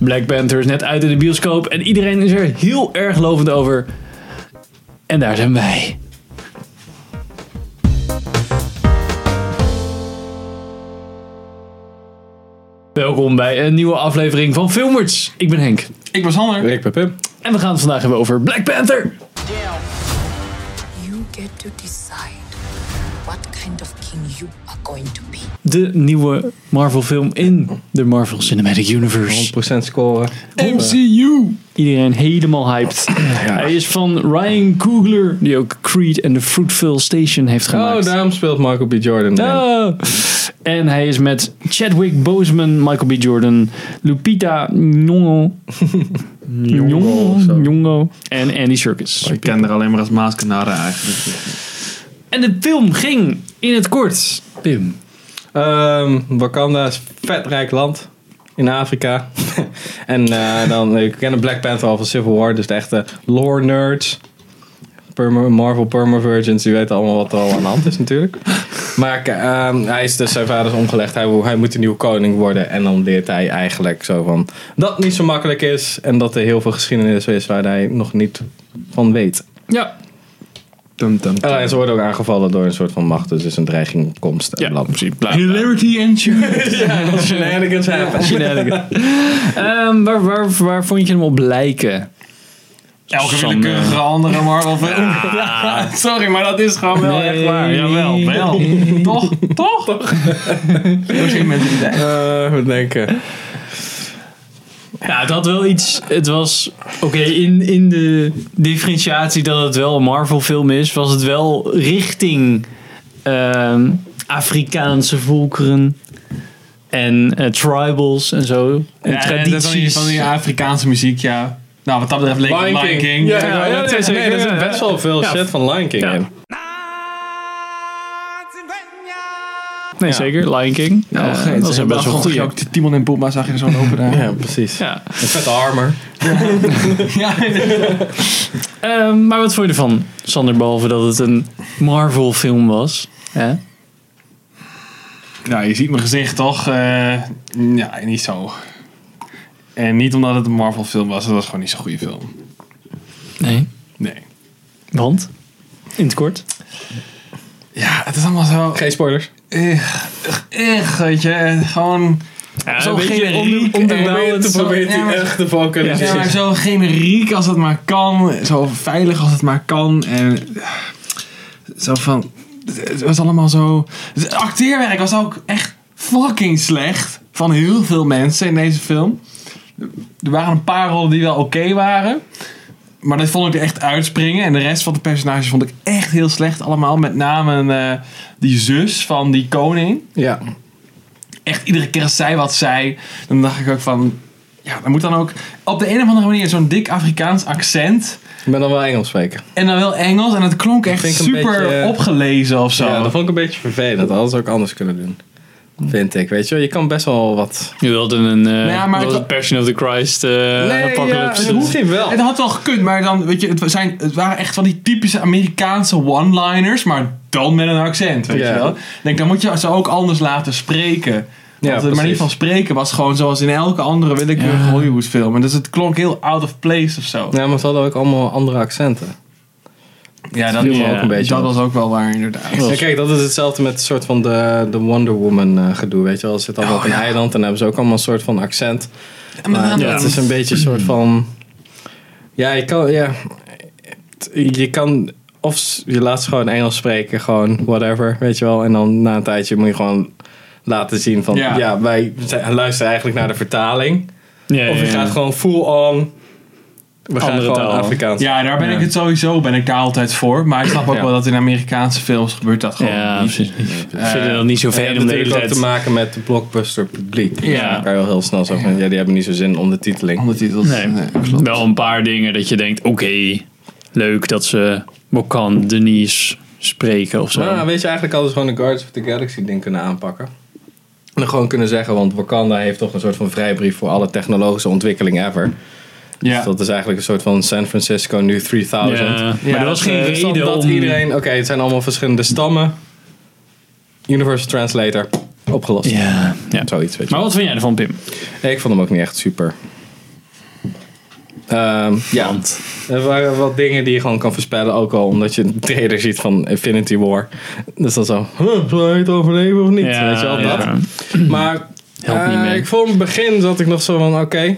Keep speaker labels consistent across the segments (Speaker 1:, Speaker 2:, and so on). Speaker 1: Black Panther is net uit in de bioscoop en iedereen is er heel erg lovend over. En daar zijn wij. Welkom bij een nieuwe aflevering van Filmers. Ik ben Henk.
Speaker 2: Ik was Hanner.
Speaker 3: Ik ben Pim.
Speaker 1: En we gaan het vandaag hebben over Black Panther.
Speaker 4: You get to decide what kind of king you are going to be.
Speaker 1: De nieuwe Marvel film in de Marvel Cinematic Universe.
Speaker 3: 100% scoren.
Speaker 2: MCU.
Speaker 1: Iedereen helemaal hyped. Hij is van Ryan Coogler, die ook Creed en The Fruitville Station heeft
Speaker 3: Oh,
Speaker 1: gemaakt.
Speaker 3: daarom speelt Michael B. Jordan. erin.
Speaker 1: Ah. En hij is met Chadwick Boseman, Michael B. Jordan, Lupita Nyong'o,
Speaker 3: of
Speaker 1: Nyong'o,
Speaker 3: zo.
Speaker 1: Nyong'o en Andy Serkis.
Speaker 2: Ik ken haar alleen maar als Maaskanada eigenlijk.
Speaker 1: En de film ging in het kort, Pim.
Speaker 3: Ehm, Wakanda is een vet rijk land in Afrika. en eh, dan, ik ken de Black Panther al van Civil War, dus de echte lore nerds. Perma- Marvel Permavirgins, die weten allemaal wat er al aan de hand is natuurlijk. Maar k- ehm, hij is dus zijn vader is omgelegd, hij, wil- hij moet de nieuwe koning worden. En dan leert hij eigenlijk zo van dat niet zo makkelijk is. En dat er heel veel geschiedenis is waar hij nog niet van weet.
Speaker 1: Ja,
Speaker 2: Tum, tum,
Speaker 3: Ja, en ze worden ook aangevallen door een soort van macht, dus het is een dreiging op komst. En
Speaker 1: ja
Speaker 3: bla, bla,
Speaker 1: precies. Bla, bla.
Speaker 2: Hilarity and Jude.
Speaker 3: bla. Dat is shenanigans happen.
Speaker 1: Ehm, waar, waar, waar vond je hem op lijken?
Speaker 2: Elke
Speaker 1: Sam,
Speaker 2: willekeurige andere Marvel film. Ja, Sorry, maar dat is gewoon wel echt waar. Jawel, wel. Toch? Toch? Toch? Misschien met die tijd.
Speaker 3: Eh, Wat denken?
Speaker 1: Ja, het had wel iets. Het was. Oké, in, in de differentiatie dat het wel een Marvel-film is, was het wel richting ehm, Afrikaanse volkeren en eh, tribals en zo. En
Speaker 2: Ja, en dat van die-
Speaker 1: tradities.
Speaker 2: van die Afrikaanse muziek, ja. Nou, wat dat betreft leek het Lion King.
Speaker 3: Ja,
Speaker 2: Ja,
Speaker 3: ja, ja,
Speaker 1: dat
Speaker 3: nee,
Speaker 1: is
Speaker 3: nee,
Speaker 1: zeker,
Speaker 3: er
Speaker 1: ja,
Speaker 3: zit best
Speaker 1: ja.
Speaker 3: wel veel
Speaker 1: Ja.
Speaker 3: shit van Lion King
Speaker 1: Ja.
Speaker 3: in.
Speaker 1: nee, zeker. Lion King.
Speaker 2: Oh,
Speaker 1: Eh, dat is best wel goed. Ja,
Speaker 2: Ook Timon en Pumba zag je zo lopen daar.
Speaker 3: Ja, precies.
Speaker 1: ja.
Speaker 3: Een vette armor.
Speaker 2: Ja,
Speaker 1: Ehm, maar wat vond je ervan, Sander? Behalve dat het een Marvel-film was. Hè?
Speaker 2: Nou, je ziet mijn gezicht toch? Eh, ja, niet zo. En niet omdat het een Marvel film was, dat was gewoon niet zo'n goede film.
Speaker 1: Nee.
Speaker 2: Nee.
Speaker 1: Want? In het kort.
Speaker 2: Ja, het is allemaal zo.
Speaker 3: Geen spoilers.
Speaker 2: Echt, echt, weet je. en Gewoon. zo generiek.
Speaker 1: onder-
Speaker 2: en-
Speaker 1: onderbouwend.
Speaker 3: te
Speaker 1: zo-
Speaker 3: probeert
Speaker 2: ja,
Speaker 3: hij
Speaker 2: maar-
Speaker 3: echt de valken.
Speaker 1: Ja,
Speaker 3: Ja,
Speaker 2: Ja, maar zo generiek als het maar kan. Zo veilig als het maar kan. En. eh, Zo van. Het was allemaal zo. Het acteerwerk was ook echt fucking slecht. Van heel veel mensen in deze film. Er waren een paar rollen die wel oké waren. Maar dat vond ik echt uitspringen. En de rest van de personages vond ik echt heel slecht allemaal. Met name eh, die zus van die koning.
Speaker 3: ja.
Speaker 2: Echt iedere keer als zij wat zei. Dan dacht ik ook van... Ja, dan moet dan ook op de een of andere manier zo'n dik Afrikaans accent.
Speaker 3: Ik ben dan wel Engels spreken.
Speaker 2: En dan wel Engels. En het klonk echt
Speaker 3: vind ik een
Speaker 2: super
Speaker 3: beetje, eh,
Speaker 2: opgelezen of zo.
Speaker 3: Ja, dat vond ik een beetje vervelend. Dat hadden ze ook anders kunnen doen. Vind ik, weet je wel. Je kan best wel wat...
Speaker 1: Je wilde een
Speaker 3: Nou
Speaker 1: eh
Speaker 2: ja, maar
Speaker 1: dat was
Speaker 2: het-
Speaker 1: het Passion of the Christ eh apocalypse.
Speaker 3: ja, dat hoeft niet wel.
Speaker 2: Het had wel gekund, maar dan, weet je, het, zijn, het waren echt van die typische Amerikaanse one-liners, maar dan met een accent, weet
Speaker 3: Ja.
Speaker 2: je wel. Ik Denk, dan moet je ze ook anders laten spreken.
Speaker 3: Ja,
Speaker 2: Want de
Speaker 3: precies.
Speaker 2: manier van spreken was gewoon zoals in elke andere willekeurige Hollywood film. En dus het klonk heel out of place of zo.
Speaker 3: Ja, maar ze hadden ook allemaal andere accenten.
Speaker 2: Ja, dat,
Speaker 3: viel me
Speaker 1: ook een
Speaker 3: beetje
Speaker 2: dat
Speaker 3: op.
Speaker 2: was ook wel waar inderdaad.
Speaker 3: Ja, kijk, dat is hetzelfde met een soort van de, de Wonder Woman eh, gedoe, weet je wel. Ze zitten allemaal
Speaker 1: Oh,
Speaker 3: op een eiland en dan hebben ze ook allemaal een soort van accent. Maar
Speaker 2: ja.
Speaker 3: het is een beetje een soort van... Ja, je kan... Ja, t- je kan... Of s- je laat ze gewoon Engels spreken, gewoon whatever, weet je wel. En dan na een tijdje moet je gewoon laten zien van...
Speaker 2: Ja.
Speaker 3: Ja, wij zijn- luisteren eigenlijk naar de vertaling.
Speaker 1: Ja,
Speaker 3: Of
Speaker 1: ja,
Speaker 3: je
Speaker 1: ja.
Speaker 3: gaat gewoon full on... We gaan
Speaker 1: Andere
Speaker 3: gewoon
Speaker 1: taal.
Speaker 3: Afrikaans.
Speaker 2: Ja, daar ben
Speaker 1: Ja.
Speaker 2: ik het sowieso ben ik daar altijd voor. Maar ik snap ook
Speaker 3: Ja.
Speaker 2: wel dat in Amerikaanse films gebeurt dat gewoon
Speaker 1: Ja,
Speaker 2: niet.
Speaker 1: precies. Ik vind het dan niet zo
Speaker 3: Het
Speaker 1: fijn
Speaker 3: heeft
Speaker 1: om de hele
Speaker 3: natuurlijk ook te
Speaker 1: tijd...
Speaker 3: maken met de blockbuster publiek.
Speaker 1: Ja.
Speaker 3: Daar kan je wel heel snel zo van, ja, die hebben niet zo zin in ondertiteling.
Speaker 2: Ondertitels.
Speaker 1: Nee, wel een paar dingen dat je denkt, oké, leuk dat ze Bokan, Denise spreken of zo.
Speaker 3: Maar Nou, weet je, eigenlijk hadden ze gewoon de Guards of the Galaxy ding kunnen aanpakken. En dan gewoon kunnen zeggen, want Wakanda heeft toch een soort van vrijbrief voor alle technologische ontwikkeling ever.
Speaker 2: Ja.
Speaker 3: Dus dat is eigenlijk een soort van San Francisco nu 3000.
Speaker 1: Ja, maar er was
Speaker 3: dat,
Speaker 1: geen
Speaker 3: eh,
Speaker 1: reden
Speaker 3: stond dat
Speaker 1: om...
Speaker 3: iedereen, oké, het zijn allemaal verschillende stammen. Universal Translator, opgelost.
Speaker 1: Ja, ja.
Speaker 3: Zoiets, weet je.
Speaker 1: Maar wat vind jij ervan, Pim?
Speaker 3: Nee, ik vond hem ook niet echt super. Ehm, ja, er waren wel dingen die je gewoon kan voorspellen. Ook al omdat je een trailer ziet van Infinity War. Dus dan zo, huh, zal hij het overleven of niet? Weet je wel, dat. Maar
Speaker 1: Helpt niet
Speaker 3: eh,
Speaker 1: mee.
Speaker 3: ik vond in het begin zat ik nog zo van, oké,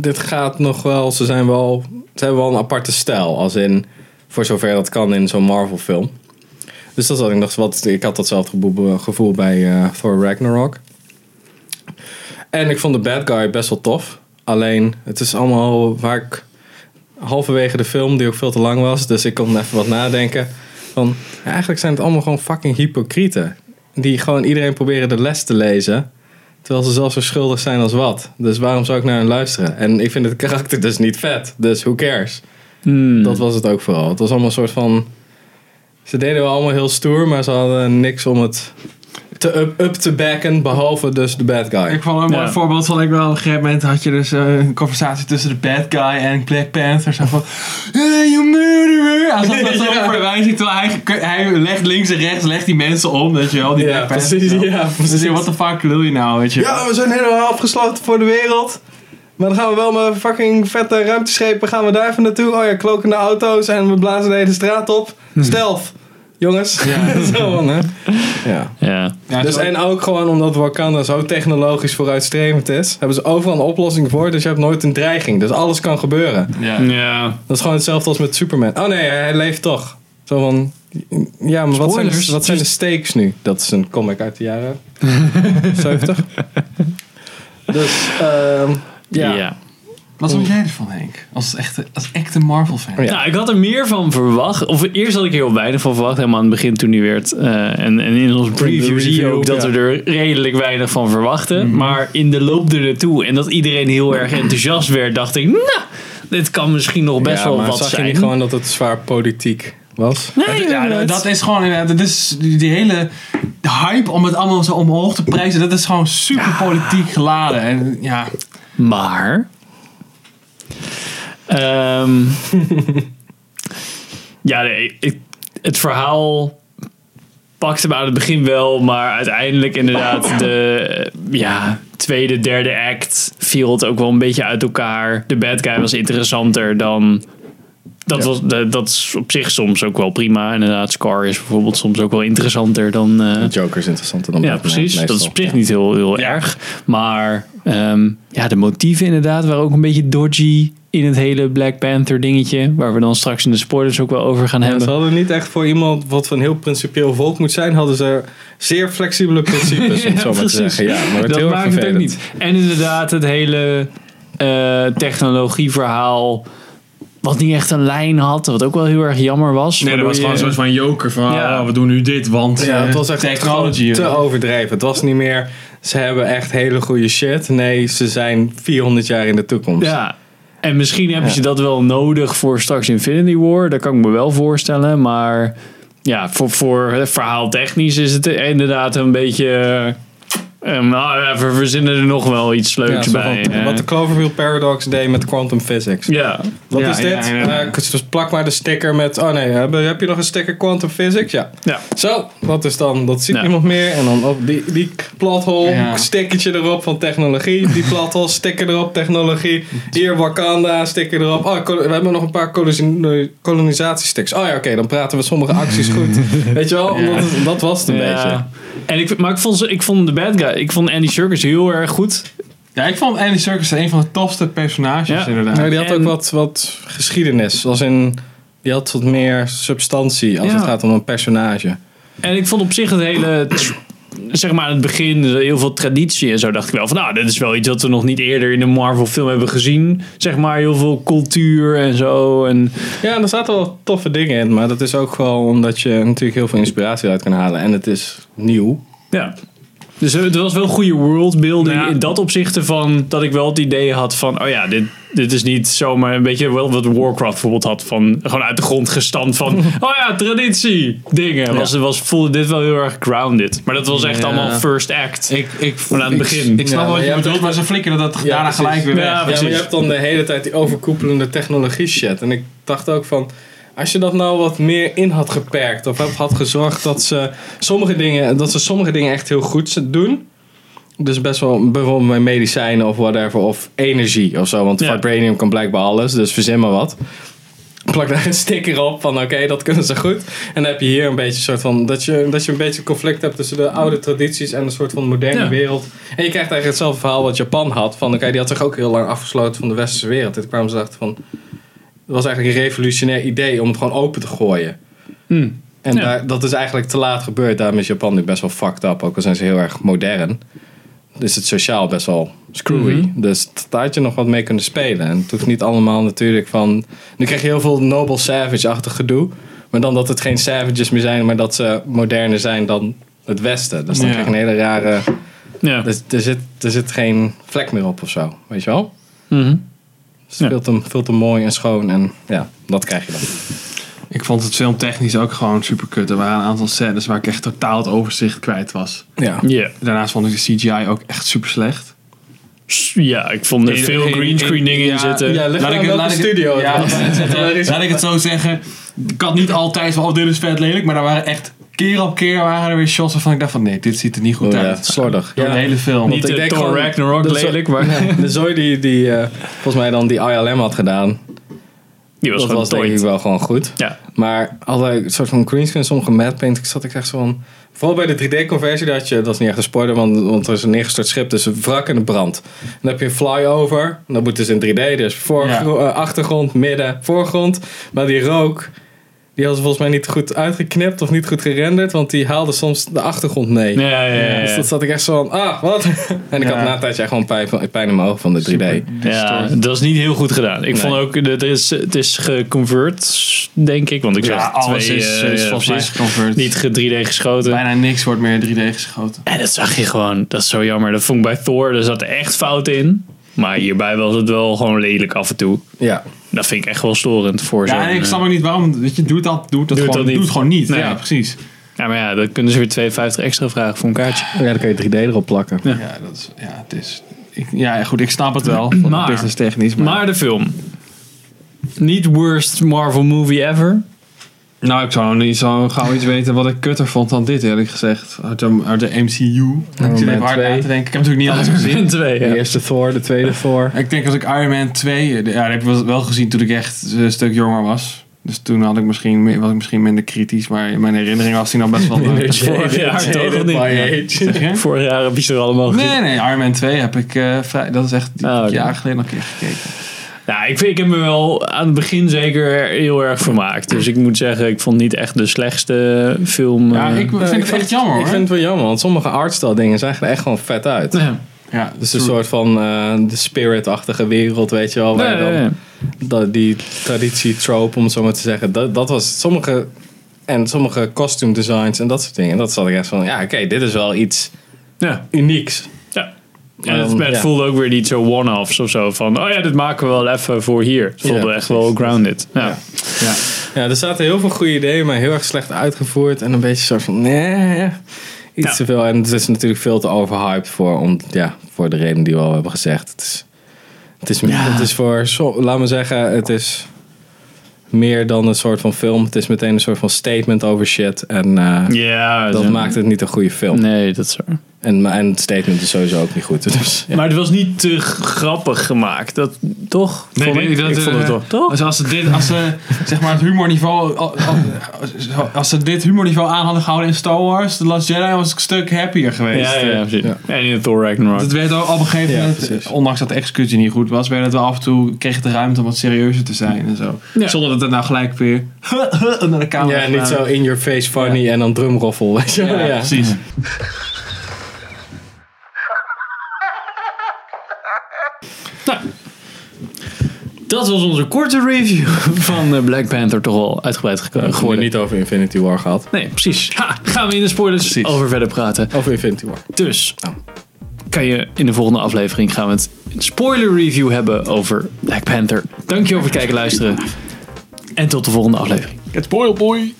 Speaker 3: dit gaat nog wel, ze zijn wel, ze hebben wel een aparte stijl, als in, voor zover dat kan in zo'n Marvel film. Dus dat zat ik nog, wat, ik had datzelfde gebo- gevoel bij eh, Thor Ragnarok. En ik vond de bad guy best wel tof. Alleen, het is allemaal waar ik halverwege de film, die ook veel te lang was, dus ik kon even wat nadenken. Van, ja, eigenlijk zijn het allemaal gewoon fucking hypocrieten. Die gewoon iedereen proberen de les te lezen. Terwijl ze zelf zo schuldig zijn als wat. Dus waarom zou ik naar hen luisteren? En ik vind het karakter dus niet vet. Dus who cares?
Speaker 2: Hmm.
Speaker 3: Dat was het ook vooral. Het was allemaal een soort van... Ze deden wel allemaal heel stoer, maar ze hadden niks om het te up, up te backen. Behalve dus de bad guy.
Speaker 2: Ik vond een mooi
Speaker 1: Ja.
Speaker 2: voorbeeld van ik wel. Op een gegeven moment had je dus eh, een conversatie tussen de bad guy en Black Panther. Zo van, hey, you murderer. Als dat zo voor de wijn ziet, terwijl hij, hij legt links en rechts legt die mensen om, weet je wel. Die
Speaker 3: Ja,
Speaker 2: Black Panther.
Speaker 3: precies.
Speaker 2: Zo.
Speaker 3: Ja,
Speaker 2: Dus
Speaker 3: precies.
Speaker 2: wat de fuck wil je nou, weet je wel.
Speaker 3: Ja, we zijn helemaal afgesloten voor de wereld. Maar dan gaan we wel met fucking vette ruimteschepen gaan we daar even naartoe. Oh ja, klokende auto's en we blazen de hele straat op. Stelf, jongens. zo man, hè. Ja.
Speaker 1: Ja.
Speaker 2: Ja,
Speaker 3: Dus,
Speaker 2: zo-
Speaker 3: en ook gewoon omdat Wakanda zo technologisch vooruitstrevend is, hebben ze overal een oplossing voor. Dus je hebt nooit een dreiging. Dus alles kan gebeuren.
Speaker 2: ja.
Speaker 1: Ja.
Speaker 3: Dat is gewoon hetzelfde als met Superman. Oh nee, hij leeft toch. Zo van, ja, maar wat zijn, de,
Speaker 1: Spoilers.
Speaker 3: wat zijn de stakes nu? Dat is een comic uit de jaren 70. Dus, ehm, ja.
Speaker 1: Ja.
Speaker 2: Wat
Speaker 3: Oh.
Speaker 2: vond jij ervan, Henk? Als echte, als echte Marvel-fan.
Speaker 3: Ja.
Speaker 1: Nou, ik had er meer van verwacht. Of eerst had ik er heel weinig van verwacht. Helemaal aan het begin toen die werd. eh, en, en in onze preview zie je
Speaker 3: review,
Speaker 1: ook dat
Speaker 3: ja. Mhm.
Speaker 1: we er redelijk weinig van verwachten. Maar in de loop er naartoe. En dat iedereen heel erg enthousiast werd. Dacht ik, nou, dit kan misschien nog best
Speaker 3: Ja,
Speaker 1: wel
Speaker 3: maar
Speaker 1: wat
Speaker 3: zag
Speaker 1: zijn.
Speaker 3: je niet gewoon dat het zwaar politiek was?
Speaker 1: Nee,
Speaker 2: Ja, dat- dat is gewoon, inderdaad, dat is die die hele hype om het allemaal zo omhoog te prijzen, dat is gewoon super politiek geladen. En ja,
Speaker 1: Maar. ehm, ja, nee. ik- het verhaal pakte me aan het begin wel, maar uiteindelijk inderdaad de eh, ja, tweede, derde act viel het ook wel een beetje uit elkaar. De bad guy was interessanter dan. Dat,
Speaker 3: Ja.
Speaker 1: was, de- dat is op zich soms ook wel prima. Inderdaad, Scar is bijvoorbeeld soms ook wel interessanter dan. eh,
Speaker 3: Joker is interessanter dan
Speaker 1: ja,
Speaker 3: Batman,
Speaker 1: precies.
Speaker 3: meestal.
Speaker 1: Dat is op zich niet heel, heel erg. Maar ehm, ja, de motieven inderdaad waren ook een beetje dodgy in het hele Black Panther dingetje. Waar we dan straks in de spoilers ook wel over gaan
Speaker 3: Ja,
Speaker 1: hebben.
Speaker 3: ze hadden niet echt voor iemand wat van heel principieel volk moet zijn, hadden ze zeer flexibele principes, om het zo maar te
Speaker 1: precies.
Speaker 3: zeggen. Ja, maar het
Speaker 1: dat
Speaker 3: heel erg
Speaker 1: maakt het ook
Speaker 3: vervelend.
Speaker 1: niet. En inderdaad, het hele eh, technologieverhaal. Wat niet echt een lijn had, wat ook wel heel erg jammer was.
Speaker 2: Nee, dat was gewoon
Speaker 1: Waardoor
Speaker 2: een
Speaker 1: je-
Speaker 2: soort van joker van
Speaker 1: Ja.
Speaker 2: ah, we doen nu dit, want
Speaker 3: Ja,
Speaker 2: eh,
Speaker 3: het was echt
Speaker 2: technology.
Speaker 3: gewoon te overdreven. Het was niet meer, ze hebben echt hele goede shit. Nee, ze zijn 400 jaar in de toekomst.
Speaker 1: Ja. En misschien hebben ze dat wel nodig voor straks Infinity War. Dat kan ik me wel voorstellen. Maar ja, voor, voor het verhaal technisch is het inderdaad een beetje... eh, eh, nou, ja, we verzinnen er nog wel iets
Speaker 3: Ja,
Speaker 1: leuks
Speaker 3: zo
Speaker 1: bij.
Speaker 3: van-
Speaker 1: eh.
Speaker 3: wat de Cloverfield Paradox deed met quantum physics.
Speaker 1: ja.
Speaker 3: Wat
Speaker 2: Ja,
Speaker 3: is dit?
Speaker 2: ja, ja.
Speaker 3: Eh, dus plak maar de sticker met, oh nee, heb, heb je nog een sticker quantum physics? Ja.
Speaker 1: Ja.
Speaker 3: Zo, dat is dan, dat ziet
Speaker 1: Ja.
Speaker 3: niemand meer. En dan op die, die plot hole,
Speaker 2: Ja.
Speaker 3: stickertje erop van technologie. Die plot hole, sticker erop, technologie. Hier Wakanda, sticker erop. Oh, kol- we hebben nog een paar kolisi- eh, kolonisatiesticks. Oh ja, oké, dan praten we sommige acties goed. Weet je wel, omdat het- dat was het een beetje.
Speaker 1: Ja. En ik, maar ik vond, ze- ik vond de bad guy, ik vond Andy Serkis heel erg goed.
Speaker 2: Ja, ik vond Andy Serkis een van de tofste personages
Speaker 1: Ja.
Speaker 2: inderdaad.
Speaker 3: Maar die had ook
Speaker 1: En-
Speaker 3: wat, wat geschiedenis. Als in, die had wat meer substantie als
Speaker 1: Ja.
Speaker 3: het gaat om een personage.
Speaker 1: En ik vond op zich het hele... Zeg maar aan het begin heel veel traditie en zo dacht ik wel van nou dit is wel iets wat we nog niet eerder in een Marvel film hebben gezien zeg maar heel veel cultuur en zo en
Speaker 3: Ja, er zaten wel toffe dingen in, maar dat is ook gewoon omdat je natuurlijk heel veel inspiratie uit kan halen. En het is nieuw.
Speaker 1: Ja. Dus eh, het was wel goede worldbuilding
Speaker 2: Ja.
Speaker 1: in dat opzichte van dat ik wel het idee had van, oh ja, dit, dit is niet zomaar een beetje wel wat Warcraft bijvoorbeeld had van, gewoon uit de grond gestampt van, oh ja, traditie, dingen. Was, was, voelde dit wel heel erg grounded. Maar dat was echt
Speaker 3: Ja.
Speaker 1: allemaal first act.
Speaker 2: Ik, ik,
Speaker 1: Van aan het
Speaker 2: ik-
Speaker 1: begin.
Speaker 2: Ik snap
Speaker 3: Ja,
Speaker 2: wel
Speaker 3: maar
Speaker 2: wat
Speaker 3: jij
Speaker 2: je
Speaker 3: hebt
Speaker 2: bedoelt, maar ze flikkeren dat
Speaker 3: Ja,
Speaker 2: daarna
Speaker 3: precies.
Speaker 2: gelijk weer weg.
Speaker 1: Ja,
Speaker 3: Ja, maar je
Speaker 1: precies.
Speaker 3: hebt dan de hele tijd die overkoepelende technologie shit. En ik dacht ook van, als je dat nou wat meer in had geperkt of had gezorgd dat ze sommige dingen, dat ze sommige dingen echt heel goed doen. dus best wel bijvoorbeeld mijn medicijnen of whatever. Of energie of zo. Want
Speaker 1: Ja.
Speaker 3: vibranium kan blijkbaar alles. Dus verzin maar wat. Plak daar een sticker op van oké, dat kunnen ze goed. En dan heb je hier een beetje een soort van. Dat je, dat je een beetje conflict hebt tussen de oude tradities en een soort van moderne
Speaker 1: Ja.
Speaker 3: wereld. En je krijgt eigenlijk hetzelfde verhaal wat Japan had. Van oké, die had zich ook heel lang afgesloten van de westerse wereld. Dit kwamen ze dachten van. Het was eigenlijk een revolutionair idee om het gewoon open te gooien.
Speaker 1: Hmm.
Speaker 3: En
Speaker 1: Ja.
Speaker 3: daar, dat is eigenlijk te laat gebeurd. Daarom is Japan nu best wel fucked up. Ook al zijn ze heel erg modern. Is het sociaal best wel screwy. Dus t- daar had je nog wat mee kunnen spelen. En het hoeft niet allemaal natuurlijk van... Nu krijg je heel veel Noble Savage-achtig gedoe. Maar dan dat het geen Savages meer zijn. Maar dat ze moderner zijn dan het Westen. Dus dan
Speaker 2: Ja.
Speaker 3: krijg je een hele rare...
Speaker 1: Ja.
Speaker 3: Dus er, zit, er zit geen vlek meer op of zo. Weet je wel?
Speaker 1: Mhm.
Speaker 3: Dus
Speaker 1: Ja.
Speaker 3: het vult hem, vult hem mooi en schoon. En ja, dat krijg je dan.
Speaker 2: Ik vond het filmtechnisch ook gewoon super kut. Er waren een aantal scènes waar ik echt totaal het overzicht kwijt was.
Speaker 3: Ja.
Speaker 1: Ja.
Speaker 2: Daarnaast vond ik de CGI ook echt super slecht.
Speaker 1: ja, ik vond er
Speaker 2: Geen-
Speaker 1: veel
Speaker 2: geen-
Speaker 1: greenscreen
Speaker 2: geen-
Speaker 1: dingen in
Speaker 2: ja,
Speaker 1: zitten.
Speaker 3: Ja, ligt
Speaker 2: Laat
Speaker 3: aan
Speaker 2: ik-
Speaker 3: welke
Speaker 2: laat ik-
Speaker 3: studio. het
Speaker 2: ja,
Speaker 3: was. Er is-
Speaker 2: Laat ik het zo zeggen. Ik had niet altijd van, oh dit is vet lelijk. Maar er waren echt keer op keer waren er weer shots waarvan ik dacht van, nee, dit ziet er niet
Speaker 1: Oh
Speaker 2: goed
Speaker 3: Ja,
Speaker 2: uit.
Speaker 3: slordig.
Speaker 2: Door de hele film.
Speaker 1: Niet
Speaker 3: ik
Speaker 1: de
Speaker 3: denk
Speaker 1: Thor
Speaker 3: gewoon-
Speaker 1: Ragnarok
Speaker 3: dat is-
Speaker 1: lelijk, maar
Speaker 3: Ja, de zooi die, die eh, volgens mij dan die ILM had gedaan,
Speaker 1: die was
Speaker 3: dat
Speaker 1: gewoon
Speaker 3: was denk ik
Speaker 1: tooid.
Speaker 3: wel gewoon goed.
Speaker 1: Ja.
Speaker 3: Maar altijd een soort van greenscreen, sommige matpaint, ik zat ik echt zo van... Vooral bij de 3D-conversie, dat, je, dat is niet echt een spoiler, want, want er is een neergestort schip tussen wrak en de brand. En dan heb je een flyover, en dat moet dus in 3D, dus voor,
Speaker 2: Ja.
Speaker 3: eh, achtergrond, midden, voorgrond. Maar die rook, die hadden ze volgens mij niet goed uitgeknipt of niet goed gerenderd, want die haalde soms de achtergrond mee.
Speaker 1: Ja, ja, ja, ja.
Speaker 3: Dus dat zat ik echt zo van, ah, wat? En
Speaker 2: Eh,
Speaker 3: ik
Speaker 2: Ja.
Speaker 3: had na een tijdje echt gewoon pijn, van- pijn in mijn ogen van de 3D.
Speaker 1: Ja, dat is niet heel goed gedaan. Ik
Speaker 3: Nee.
Speaker 1: vond ook, dat is, het is geconvert, denk ik. Want ik zag
Speaker 2: Ja, alles
Speaker 1: twee,
Speaker 2: is,
Speaker 1: eh,
Speaker 2: is
Speaker 1: ja,
Speaker 2: volgens mij
Speaker 1: precies,
Speaker 2: geconvert.
Speaker 1: niet ge- 3D geschoten.
Speaker 2: Bijna niks wordt meer 3D geschoten.
Speaker 1: En dat zag je gewoon. Dat is zo jammer. Dat vond ik bij Thor, er zat echt fout in. Maar hierbij was het wel gewoon lelijk af en toe.
Speaker 3: Ja.
Speaker 1: Dat vind ik echt wel storend voor
Speaker 2: Ja,
Speaker 1: zo'n,
Speaker 2: en ik
Speaker 1: eh,
Speaker 2: snap ook niet waarom. Weet je, doe dat, doe dat
Speaker 1: Doe het
Speaker 2: gewoon.
Speaker 1: dan niet.
Speaker 2: Doe het gewoon niet.
Speaker 1: Nee.
Speaker 2: Ja, precies.
Speaker 1: ja, maar ja, dan kunnen ze weer 2,50 extra vragen voor een kaartje.
Speaker 3: ja, dan kun je 3D erop plakken.
Speaker 2: Ja, dat is, ja het is... Ik, ja, goed, ik snap het wel.
Speaker 1: Maar-
Speaker 2: business technisch. Maar,
Speaker 1: Maar de film. Niet worst Marvel movie ever.
Speaker 2: nou, ik zou niet zo gauw iets weten wat ik kutter vond dan dit, eerlijk gezegd. Uit de, uit de MCU. ik zit even
Speaker 3: Man
Speaker 2: hard
Speaker 3: twee.
Speaker 2: na te denken. Ik heb natuurlijk niet alles gezien.
Speaker 1: In twee,
Speaker 3: De
Speaker 1: ja.
Speaker 3: eerste Thor, de tweede Thor.
Speaker 2: ik denk als ik Iron Man 2... eh, de- Ja, dat heb ik wel- wel gezien toen ik echt eh, een stuk jonger was. Dus toen had ik misschien, me- was ik misschien minder kritisch. Maar in mijn herinnering was die nog best wel... leuk.
Speaker 1: Vorig jaar toch nog niet.
Speaker 2: Zeg je?
Speaker 1: Vorig jaar heb je ze er allemaal gezien.
Speaker 2: Nee, nee, Iron Man 2 heb ik eh, vrij... Dat is echt
Speaker 1: Oh, oké.
Speaker 2: jaren geleden nog een keer gekeken.
Speaker 1: Nou, ik, vind, ik heb me wel aan het begin zeker heel erg vermaakt. Dus ik moet zeggen, ik vond het niet echt de slechtste film.
Speaker 2: Ja,
Speaker 1: eh,
Speaker 2: ik vind het echt jammer hoor.
Speaker 3: Ik vind het wel jammer, want sommige artstyle dingen zagen er echt gewoon vet uit.
Speaker 1: Ja.
Speaker 2: Ja,
Speaker 3: Dus een soort van eh, de spirit-achtige wereld, weet je wel. Waar
Speaker 1: Nee,
Speaker 3: je dan,
Speaker 1: nee, nee.
Speaker 3: dat- die traditie-trope, om het zo maar te zeggen. Dat, dat was sommige... En sommige costume designs en dat soort dingen. Dat zat ik echt van, ja oké, dit is wel iets
Speaker 1: Ja.
Speaker 3: unieks.
Speaker 1: ja.
Speaker 3: Maar
Speaker 1: En het,
Speaker 3: dan-
Speaker 1: het
Speaker 3: ja.
Speaker 1: voelde ook weer niet zo one-offs of zo. Van, oh ja, dit maken we wel even voor hier. Het voelde
Speaker 3: Ja,
Speaker 1: echt
Speaker 3: precies.
Speaker 1: wel grounded. Ja.
Speaker 3: Ja. Ja, er zaten heel veel goede ideeën, maar heel erg slecht uitgevoerd. En een beetje soort van, nee, iets
Speaker 1: Ja.
Speaker 3: te veel. En het is natuurlijk veel te overhyped voor, om, ja, voor de reden die we al hebben gezegd. Het is, het is, het is voor, zo, laat me zeggen, het is meer dan een soort van film. Het is meteen een soort van statement over shit. En eh,
Speaker 1: Ja,
Speaker 3: dat
Speaker 1: zo-
Speaker 3: maakt het niet een goede film.
Speaker 1: Nee, dat is waar.
Speaker 3: En, en het statement is sowieso ook niet goed. Dus, ja.
Speaker 1: Maar het was niet te grappig gemaakt. Dat, toch?
Speaker 2: Nee,
Speaker 1: vond
Speaker 2: nee,
Speaker 1: ik,
Speaker 2: dat,
Speaker 1: ik
Speaker 2: eh,
Speaker 1: vond het toch. toch?
Speaker 2: Dus als ze dit, als ze, zeg maar het humorniveau, al- al- als ze dit humorniveau aan hadden gehouden in Star Wars, The Last Jedi was ik een stuk happier geweest.
Speaker 1: Ja, ja, ja, precies.
Speaker 3: Ja.
Speaker 1: En in Thor Ragnarok.
Speaker 2: Het werd ook op een gegeven
Speaker 3: Ja,
Speaker 2: moment,
Speaker 3: precies.
Speaker 2: ondanks dat de executie niet goed was, werd het wel af en toe, kreeg het de ruimte om wat serieuzer te zijn en zo.
Speaker 1: Ja.
Speaker 2: Zonder dat het nou gelijk weer naar de camera
Speaker 3: Ja, niet
Speaker 2: gedaan
Speaker 3: zo
Speaker 2: werd.
Speaker 3: in your face funny en dan drumroffel. Weet je? wel.
Speaker 2: Ja,
Speaker 3: Ja.
Speaker 2: precies.
Speaker 1: Nou, Dat was onze korte review van eh, Black Panther toch al uitgebreid
Speaker 3: We
Speaker 1: geko-
Speaker 3: hebben het
Speaker 1: geworden.
Speaker 3: niet over Infinity War gehad.
Speaker 1: Nee, precies. Ha, gaan we in de spoilers
Speaker 2: Precies.
Speaker 1: over verder praten.
Speaker 3: Over Infinity War.
Speaker 1: Dus
Speaker 3: Oh.
Speaker 1: kan je in de volgende aflevering gaan we het een spoiler review hebben over Black Panther. Dankjewel voor het oh kijken en luisteren. En tot de volgende aflevering.
Speaker 2: Het spoilboy.